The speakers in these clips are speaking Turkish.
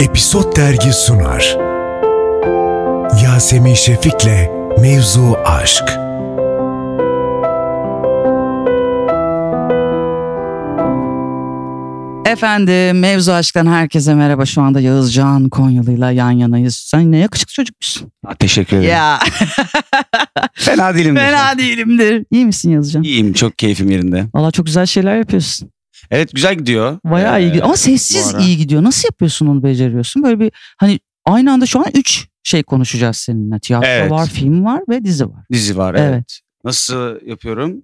Episod Dergi sunar. Yasemin Şefik'le Mevzu Aşk. Efendim Mevzu Aşk'tan herkese merhaba. Şu anda Yağız Can Konyalı'yla yan yanayız. Sen ne yakışıklı çocukmuşsun. Ha, Teşekkür ederim. Ya Fena değilim. de şu an. fena değilimdir. İyi misin Yağız Can? İyiyim çok keyfim yerinde. Valla çok güzel şeyler yapıyorsun. Evet güzel gidiyor. Bayağı iyi Ee, gidiyor. Ama sessiz bu ara- iyi gidiyor. Nasıl yapıyorsun onu beceriyorsun? Böyle bir hani aynı anda şu an 3 şey konuşacağız seninle. Tiyatro Evet. var, film var ve dizi var. Dizi var evet. Nasıl yapıyorum?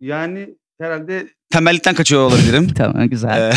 Yani herhalde tembellikten kaçıyor olabilirim. Tamam güzel. Ee,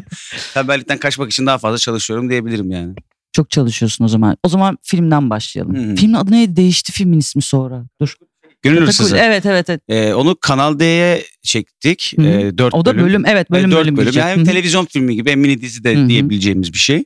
tembellikten kaçmak için daha fazla çalışıyorum diyebilirim yani. Çok çalışıyorsun o zaman. O zaman filmden başlayalım. Hı hı. Filmin adı neydi? Değişti filmin ismi sonra. Dur. Gönül Takıl- Hırsızı. Evet evet evet. Ee, onu Kanal D'ye çektik. Hı hı. Ee, dört O da bölüm. Evet Ee, bölüm dört bölüm. gidecek. Yani Hı hem hı. televizyon filmi gibi hem mini dizi de Hı hı. diyebileceğimiz bir şey.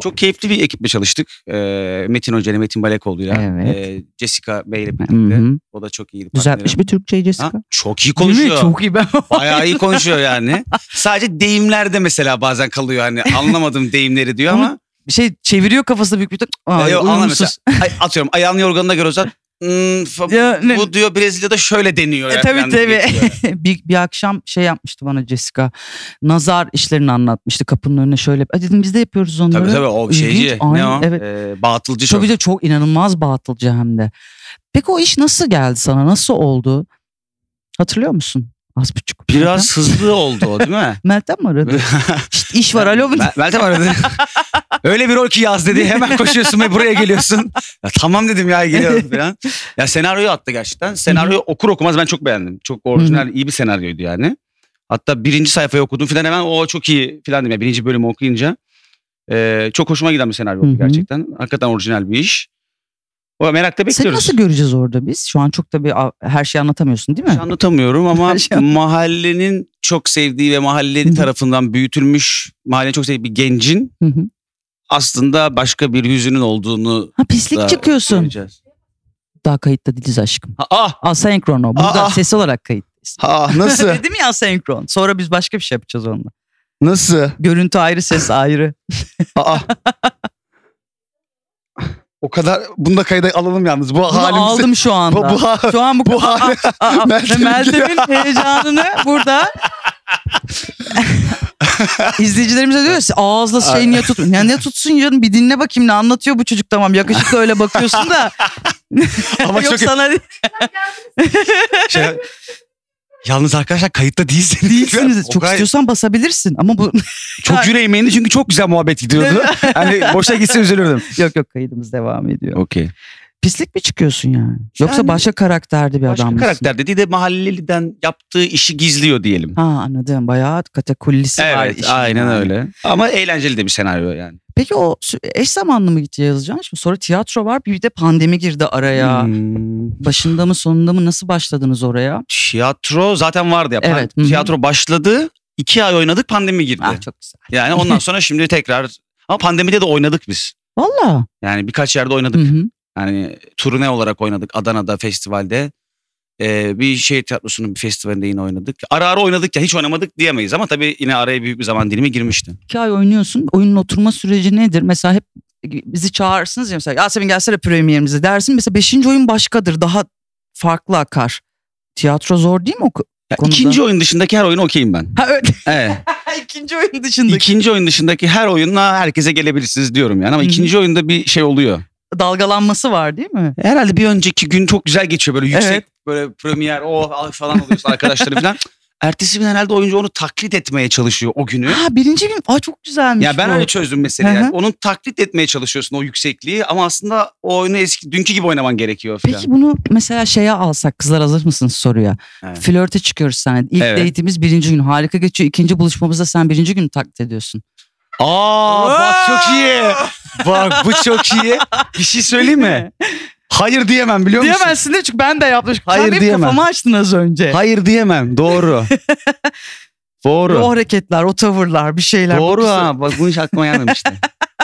Çok keyifli bir ekiple çalıştık. Ee, Metin Hoca ile Metin Balekoğlu'yla. Evet. ee, Jessica Bey ile Hı birlikte. hı. O da çok iyiydi. partnerim. Düzeltmiş bir Türkçe Jessica. Ha, çok iyi Değil mi? konuşuyor. Çok iyi ben. Bayağı iyi konuşuyor yani. Sadece deyimlerde mesela bazen kalıyor hani anlamadım deyimleri diyor ama. Bir şey çeviriyor kafasında büyük bir tık. Ay, E, yok, anla mesela. uyumsuz. Ay, atıyorum ayağın yorganına göre uzat. Hmm, fa- Ya, ne- bu diyor Brezilya'da şöyle deniyor. E, ya tabii falan tabii. geçiyor. bir, bir akşam şey yapmıştı bana Jessica. Nazar işlerini anlatmıştı kapının önüne şöyle. "Ay," dedim biz de yapıyoruz onları. tabii tabii o İlginç, şeyci ne aynen, o? evet. Ee, batılcı Çok, çok. çok, çok inanılmaz batılcı hem de. Peki o iş nasıl geldi sana? Nasıl oldu? Hatırlıyor musun? Az buçuk. Meltem- Biraz hızlı oldu o değil mi? Meltem mi aradı? İşte iş var alo. mu? Mel- Meltem aradı. Öyle bir rol ki yaz dedi. Hemen koşuyorsun ve buraya geliyorsun. Ya, tamam dedim ya geliyorum falan. Ya senaryoyu attı gerçekten. Senaryo okur okumaz ben çok beğendim. Çok orijinal iyi bir senaryoydu yani. Hatta birinci sayfayı okudum falan hemen o çok iyi falan dedim. Yani birinci bölümü okuyunca. Ee, çok hoşuma giden bir senaryo oldu Hı hı. gerçekten. Hakikaten orijinal bir iş. O merakla Seni bekliyoruz. nasıl göreceğiz orada biz? Şu an çok tabii a- her şeyi anlatamıyorsun değil mi? Hiç anlatamıyorum ama Her şey- mahallenin çok sevdiği ve Hı mahallenin hı. tarafından büyütülmüş, mahallenin çok sevdiği bir gencin Hı hı. aslında başka bir yüzünün olduğunu Ha pislik da çıkıyorsun. göreceğiz. Daha kayıtta değiliz aşkım. Ha, ah, Asenkron o. Burada Aa. ses olarak kayıt. ha, ah, nasıl? Dedim ya asenkron. Sonra biz başka bir şey yapacağız onunla. nasıl? Görüntü ayrı, ses ayrı. Aa. o kadar bunu da kayda alalım yalnız. Bu Bunu halimizi- aldım şu Bu, anda. bu hal- Şu an bu, bu hal- Aa, aa, aa. Meltem'in- Meltem'in heyecanını burada izleyicilerimize diyoruz ağızla şey niye tutmuyor? Ya ne tutsun yarın bir dinle bakayım ne anlatıyor bu çocuk tamam yakışıklı öyle bakıyorsun da. Ama Yok çok- sana şey- Yalnız arkadaşlar kayıtta değilsiniz. değilsiniz. O Çok gay- istiyorsan basabilirsin ama bu Çok yüreğim indi çünkü çok güzel muhabbet gidiyordu. hani boşa gitse üzülürdüm. yok yok kaydımız devam ediyor. Okey. Pislik mi çıkıyorsun yani? Yoksa Yani- başka karakterli bir adam Başka mısın? karakter dediği de mahalleliden yaptığı işi gizliyor diyelim. Ha anladım. Bayağı katakullisi var. Evet işin aynen yani. öyle. Ama eğlenceli de bir senaryo yani. Peki o sü- eş zamanlı mı gitti yazacaksın? Şimdi sonra tiyatro var bir de pandemi girdi araya. Hmm. Başında mı sonunda mı nasıl başladınız oraya? Tiyatro zaten vardı ya. Evet, Pan- hı hı. Tiyatro başladı. iki ay oynadık pandemi girdi. Ah çok güzel. Yani ondan sonra şimdi tekrar ama pandemide de oynadık biz. Valla. Yani birkaç yerde Hı oynadık. hı. Yani turne olarak oynadık Adana'da festivalde. Ee, bir şehir tiyatrosunun bir festivalinde yine oynadık. Ara ara oynadık ya hiç oynamadık diyemeyiz ama tabii yine araya büyük bir zaman dilimi girmişti. İki ay oynuyorsun. Oyunun oturma süreci nedir? Mesela hep bizi çağırırsınız ya mesela Yasemin gelsene premierimize dersin. Mesela beşinci oyun başkadır. Daha farklı akar. Tiyatro zor değil mi? o ko- Ya Konuda- İkinci oyun dışındaki her oyun okeyim ben. Ha evet. Evet. İkinci oyun dışındaki. İkinci oyun dışındaki her oyunla herkese gelebilirsiniz diyorum yani ama Hı hı. ikinci oyunda bir şey oluyor. Dalgalanması var değil mi? Herhalde bir önceki gün çok güzel geçiyor böyle yüksek Evet. böyle premier o oh, falan oluyorsun arkadaşları falan. Ertesi gün herhalde oyuncu onu taklit etmeye çalışıyor o günü. Ha birinci gün. Aa çok güzelmiş Ya ben bu. öyle çözdüm meseleyi. Hı hı. Yani. Onun taklit etmeye çalışıyorsun o yüksekliği ama aslında o oyunu eski dünkü gibi oynaman gerekiyor falan. Peki bunu mesela şeye alsak kızlar hazır mısınız soruya. Evet. Flörte çıkıyoruz sen. İlk Evet. date'imiz birinci gün harika geçiyor. İkinci buluşmamızda sen birinci gün taklit ediyorsun. Aa bak çok iyi. Bak bu çok iyi. Bir şey söyleyeyim mi? Hayır diyemem biliyor musun? Diyemezsin de çünkü ben de yapmışım. Hayır sen benim diyemem. kafamı açtın az önce. Hayır diyemem. Doğru. Doğru. O hareketler, o tavırlar, bir şeyler. Doğru Bakıyorsun. ha. Bak bunu hiç aklıma gelmemişti.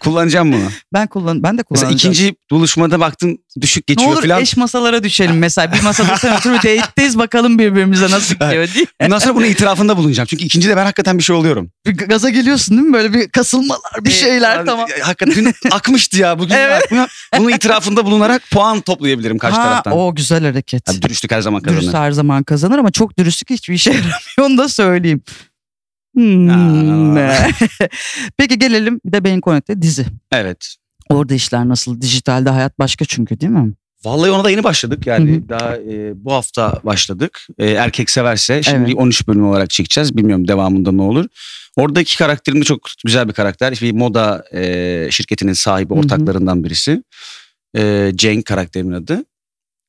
Kullanacağım bunu. Ben kullan ben de Mesela kullanacağım. ikinci buluşmada baktın düşük ne geçiyor olur falan. eş masalara düşelim mesela. Bir masada sen otur bir date'deyiz bakalım birbirimize nasıl gidiyor diye. Bundan sonra bunun itirafında bulunacağım. Çünkü ikinci de ben hakikaten bir şey oluyorum. Bir gaza geliyorsun değil mi? Böyle bir kasılmalar bir Ee, şeyler abi, tamam. ya, Hakikaten dün akmıştı ya bugün Evet. akmıyor. Bunun itirafında bulunarak puan toplayabilirim karşı ha, taraftan. O güzel hareket. Ya dürüstlük her zaman kazanır. Dürüst her zaman kazanır ama çok dürüstlük hiçbir işe yaramıyor onu da söyleyeyim. Hmm. Aa. Peki gelelim bir de Beyin Connect'te dizi. Evet. Orada işler nasıl? Dijitalde hayat başka çünkü değil mi? Vallahi ona da yeni başladık yani Hı hı. daha e, bu hafta başladık. E, erkek severse şimdi Evet. 13 bölüm olarak çekeceğiz. Bilmiyorum devamında ne olur. Oradaki karakterim de çok güzel bir karakter. Bir moda e, şirketinin sahibi Hı hı. ortaklarından birisi. E, Cenk karakterimin adı.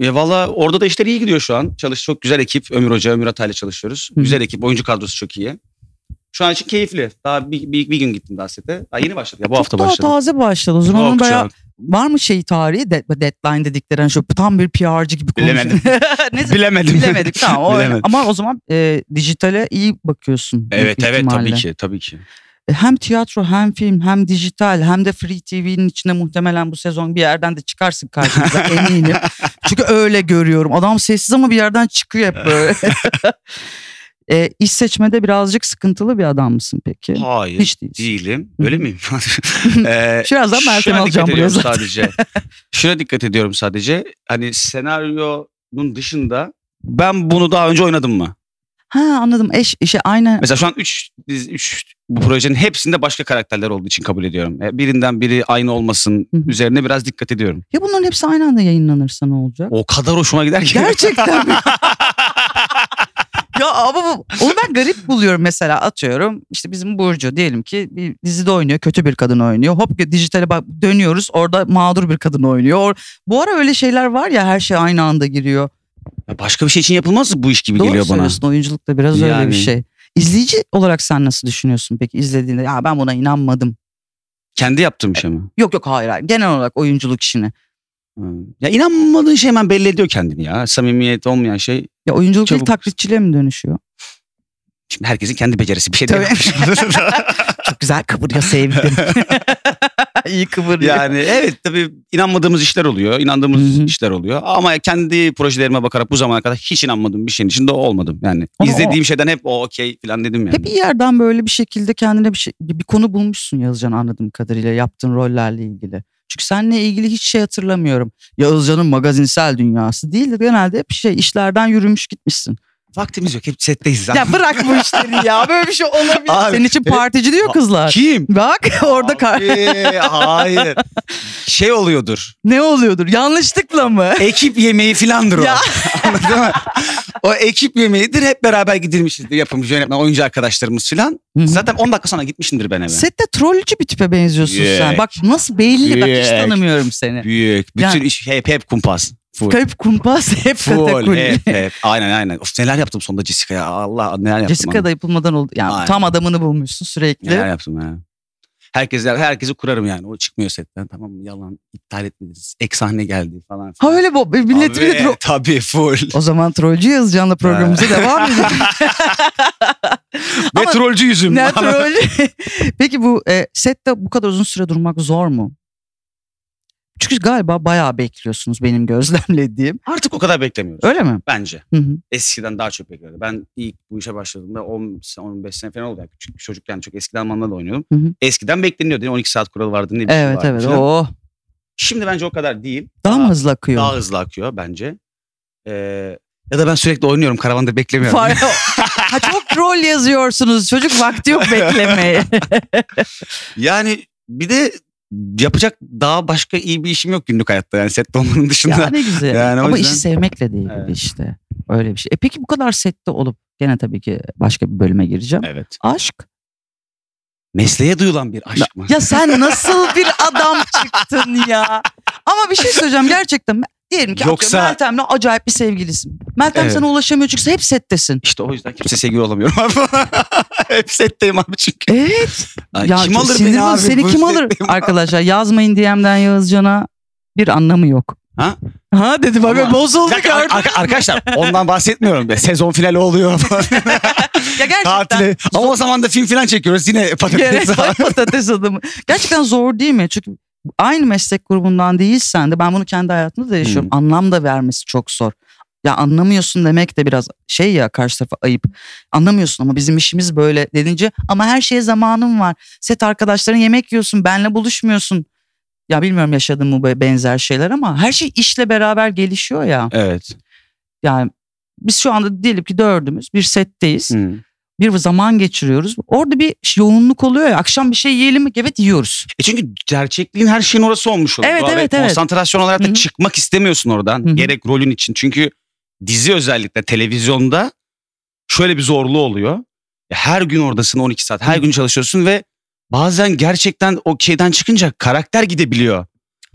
E, Valla orada da işler iyi gidiyor şu an. Çalış çok güzel ekip. Ömür Hoca, Ömür Atay'la çalışıyoruz. Hı hı. Güzel ekip. Oyuncu kadrosu çok iyi. Şu an için keyifli. Daha bir, bir, bir gün gittim daha sete. Daha yeni başladı. Ya, bu Çok hafta daha başladı. taze başladı. O zaman Çok onun bayağı çok. var mı şey tarihi de, deadline dedikleri hani şu tam bir PR'cı gibi Bilemedim. Neyse, Bilemedim. bilemedik tamam. o öyle. Bilemedim. Ama o zaman e, dijitale iyi bakıyorsun. büyük Evet evet ihtimalle. tabii ki tabii ki. E, Hem tiyatro hem film hem dijital hem de Free TV'nin içinde muhtemelen bu sezon bir yerden de çıkarsın karşımıza eminim. Çünkü öyle görüyorum. Adam sessiz ama bir yerden çıkıyor hep böyle. e, iş seçmede birazcık sıkıntılı bir adam mısın peki? Hayır. Hiç değilsin. Değilim. Hı. Öyle miyim? Ee, Birazdan Meltem şuna alacağım dikkat buraya ediyorum zaten. sadece. Şuna dikkat ediyorum sadece. Hani senaryonun dışında ben bunu daha önce oynadım mı? Ha anladım. Eş işe aynı. Mesela şu an 3 üç bu projenin hepsinde başka karakterler olduğu için kabul ediyorum. E, Birinden biri aynı olmasın Hı hı. üzerine biraz dikkat ediyorum. Ya bunların hepsi aynı anda yayınlanırsa ne olacak? O kadar hoşuma gider ki. Gerçekten mi? ya ama bu- onu ben garip buluyorum mesela atıyorum. işte bizim Burcu diyelim ki bir dizide oynuyor kötü bir kadın oynuyor. Hop dijitale bak dönüyoruz orada mağdur bir kadın oynuyor. Or- Bu ara öyle şeyler var ya her şey aynı anda giriyor. Ya Başka bir şey için yapılmaz mı bu iş gibi Doğru geliyor bana? söylüyorsun oyunculuk da biraz öyle Yani. bir şey. İzleyici olarak sen nasıl düşünüyorsun peki izlediğinde ya ben buna inanmadım. Kendi yaptığım şey mi? Yok yok hayır hayır genel olarak oyunculuk işini. Hı. Ya inanmadığın şey hemen belli ediyor kendini ya. Samimiyet olmayan şey Ya oyunculuk değil Çabuk. taklitçiliğe mi dönüşüyor? Şimdi herkesin kendi becerisi bir şey Tabii. değil. Çok güzel kıvırıyor sevdim. İyi kıvırıyor. yani evet tabii inanmadığımız işler oluyor, inandığımız Hı hı. işler oluyor. Ama kendi projelerime bakarak bu zamana kadar hiç inanmadığım bir şeyin içinde olmadım. Yani Ama izlediğim şeyden hep o okey falan dedim yani. Hep bir yerden böyle bir şekilde kendine bir, şey, bir konu bulmuşsun Yağızcan anladığım kadarıyla yaptığın rollerle ilgili. Çünkü seninle ilgili hiç şey hatırlamıyorum. Yağızcan'ın magazinsel dünyası değil de genelde hep şey işlerden yürümüş gitmişsin. Vaktimiz yok, hep setteyiz zaten. Ya bırak bu işleri ya böyle bir şey olabilir. Abi, Senin için evet. partici diyor Ha, kızlar. Kim? Bak orada kar- Abi, hayır. Şey oluyordur. ne oluyordur yanlışlıkla mı? Ekip yemeği filandır o. Ya. Anladın mı? O ekip yemeğidir. Hep beraber gidilmişizdir. Yapımcı, yönetmen, oyuncu arkadaşlarımız filan. Hı hı. Zaten 10 dakika sonra gitmişimdir ben eve. Sette trollcü bir tipe benziyorsun sen. Yek. Bak nasıl belli bak hiç Yek. tanımıyorum seni. Büyük. Bütün Yani- iş hep, hep kumpas. Full. Kayıp kumpas hep Full, katakul. hep, hep. Aynen aynen. Of neler yaptım sonunda Jessica'ya. Allah neler yaptım. Jessica da yapılmadan oldu. Yani Aynen. tam adamını bulmuşsun sürekli. Neler yaptım ya. Herkes, herkesi kurarım yani. O çıkmıyor setten. Tamam mı? Yalan iptal etmediniz. Ek sahne geldi falan. Ha öyle bu. Millet bile tro- Tabii full. O zaman trollcü yazacağınla programımıza devam edelim. Ve Ama- trollcü yüzüm. ne trollcü? Peki bu e, sette bu kadar uzun süre durmak zor mu? Çünkü galiba bayağı bekliyorsunuz benim gözlemlediğim. Artık o kadar beklemiyoruz. Öyle mi? Bence. Hı hı. Eskiden daha çok bekliyordum. Ben ilk bu işe başladığımda 10 sen- 15 sene falan oldu. Yani küçük bir çocukken çok eskiden Almanlarla da oynuyordum. Hı hı. Eskiden bekleniyordu. Yani 12 saat kuralı vardı. Ne bir şey Evet vardı evet. falan. Oo. Şimdi bence o kadar değil. Daha mı hızlı akıyor? Daha hızlı akıyor bence. Ee, ya da ben sürekli oynuyorum karavanda beklemiyorum. Far- ha, çok troll yazıyorsunuz. Çocuk vakti yok beklemeye. yani bir de yapacak daha başka iyi bir işim yok günlük hayatta yani sette olmanın dışında. ya ne güzel. Yani o Ama yüzden- işi sevmekle değil Evet. işte. Öyle bir şey. E peki bu kadar sette olup gene tabii ki başka bir bölüme gireceğim. Evet. Aşk Mesleğe duyulan bir aşk mı? Ya sen nasıl bir adam çıktın ya? Ama bir şey söyleyeceğim gerçekten. Diyelim ki Yoksa- atıyorum Meltem'le acayip bir sevgilisin. Meltem Evet. sana ulaşamıyor çünkü hep settesin. İşte o yüzden kimse sevgili olamıyorum abi. Hep setteyim abi çünkü. Evet. Ay, E, ya kim çok alır sinir beni bozucu. abi? Seni Bu kim alır? setteyim abi. Arkadaşlar yazmayın DM'den Yağızcan'a bir anlamı yok. Ha? Ha dedi bak Ama- Bir bozuldu dakika, ar- gördün. ar- arkadaşlar ondan bahsetmiyorum. be. Sezon finali oluyor falan. Ya gerçekten. Tatili. Ama o zaman da film falan çekiyoruz. Yine patates. Gerek var patates adamı. Gerçekten zor değil mi? Çünkü aynı meslek grubundan değilsen de ben bunu kendi hayatımda da yaşıyorum. Anlam da vermesi çok zor. Ya anlamıyorsun demek de biraz şey ya karşı tarafa ayıp. Anlamıyorsun ama bizim işimiz böyle denince ama her şeye zamanım var. Set arkadaşların yemek yiyorsun, benle buluşmuyorsun. Ya bilmiyorum yaşadın mı böyle benzer şeyler ama her şey işle beraber gelişiyor ya. evet. Yani biz şu anda diyelim ki dördümüz bir setteyiz Hmm. bir zaman geçiriyoruz. Orada bir yoğunluk oluyor ya. Akşam bir şey yiyelim mi? Evet yiyoruz. E çünkü gerçekliğin her şeyin orası olmuş oluyor. Evet, Abi evet, evet. Konsantrasyon olarak da Hı hı. çıkmak istemiyorsun oradan. Hı hı. Gerek rolün için. Çünkü dizi özellikle televizyonda şöyle bir zorluğu oluyor. Ya Her gün oradasın 12 saat. Her Hı. gün çalışıyorsun ve bazen gerçekten o şeyden çıkınca karakter gidebiliyor.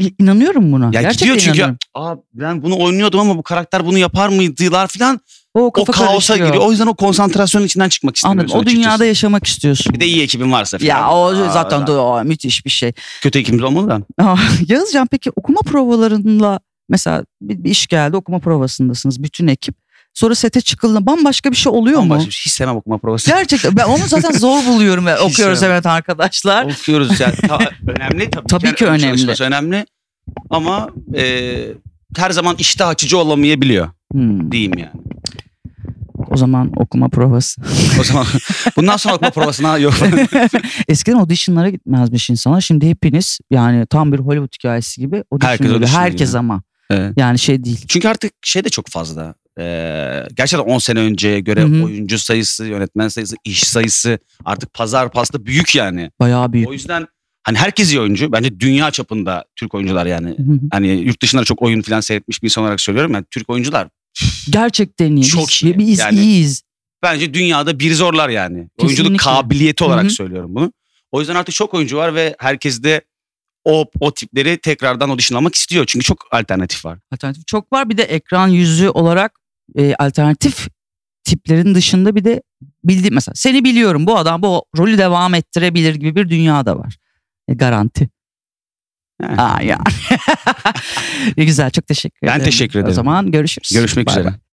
İ- İnanıyorum buna. Ya Gerçekten gidiyor çünkü inanıyorum. Aa, ben bunu oynuyordum ama bu karakter bunu yapar mıydılar falan. O, O kafa kaosa karışıyor. giriyor. O yüzden o konsantrasyonun içinden çıkmak istemiyorsun. Anladım. O açıkçası. dünyada yaşamak istiyorsun. bir de iyi ekibin varsa falan. ya o Aa, zaten da- aa, müthiş bir şey. kötü ekibimiz olmadı da. Yazıcan peki okuma provalarında mesela bir, bir iş geldi okuma provasındasınız bütün ekip. Sonra sete çıkıldığında bambaşka bir şey oluyor Ama mu? hiç sevmem okuma provası. Gerçekten ben onu zaten zor buluyorum ve okuyoruz şey. sevmem. evet arkadaşlar. okuyoruz yani. Ta- önemli tabii. Tabii Yani ki ön önemli. çalışması önemli. Ama e, her zaman işte açıcı olamayabiliyor Hmm, diyeyim yani. o zaman okuma provası. O zaman bundan sonra okuma provasına yok. Eskiden auditionlara gitmezmiş insanlar. Şimdi hepiniz yani tam bir Hollywood hikayesi gibi audition Herkes herkes, audition herkes veriyor. ama. Evet. Yani şey değil. Çünkü artık şey de çok fazla. E, gerçekten 10 sene önceye göre Hı hı. oyuncu sayısı, yönetmen sayısı, iş sayısı artık pazar pasta büyük yani. Bayağı büyük. O yüzden hani herkes iyi oyuncu. Bence dünya çapında Türk oyuncular yani. Hı hı. Hani yurt dışında da çok oyun falan seyretmiş bir insan olarak söylüyorum. Yani Türk oyuncular Gerçekten iyi. Çok Biz- iyi. Biz Yani- iyiyiz. bence dünyada bir zorlar yani. Oyunculuk kabiliyeti olarak Hı hı. söylüyorum bunu. O yüzden artık çok oyuncu var ve herkes de o, o tipleri tekrardan audition almak istiyor. Çünkü çok alternatif var. Alternatif çok var. Bir de ekran yüzü olarak e, alternatif tiplerin dışında bir de bildi mesela seni biliyorum bu adam bu rolü devam ettirebilir gibi bir dünya da var. E, garanti. Yani. Aa, yani. Ne Güzel çok teşekkür Ben ederim. teşekkür ederim. O zaman görüşürüz. Görüşmek Bay üzere. bay.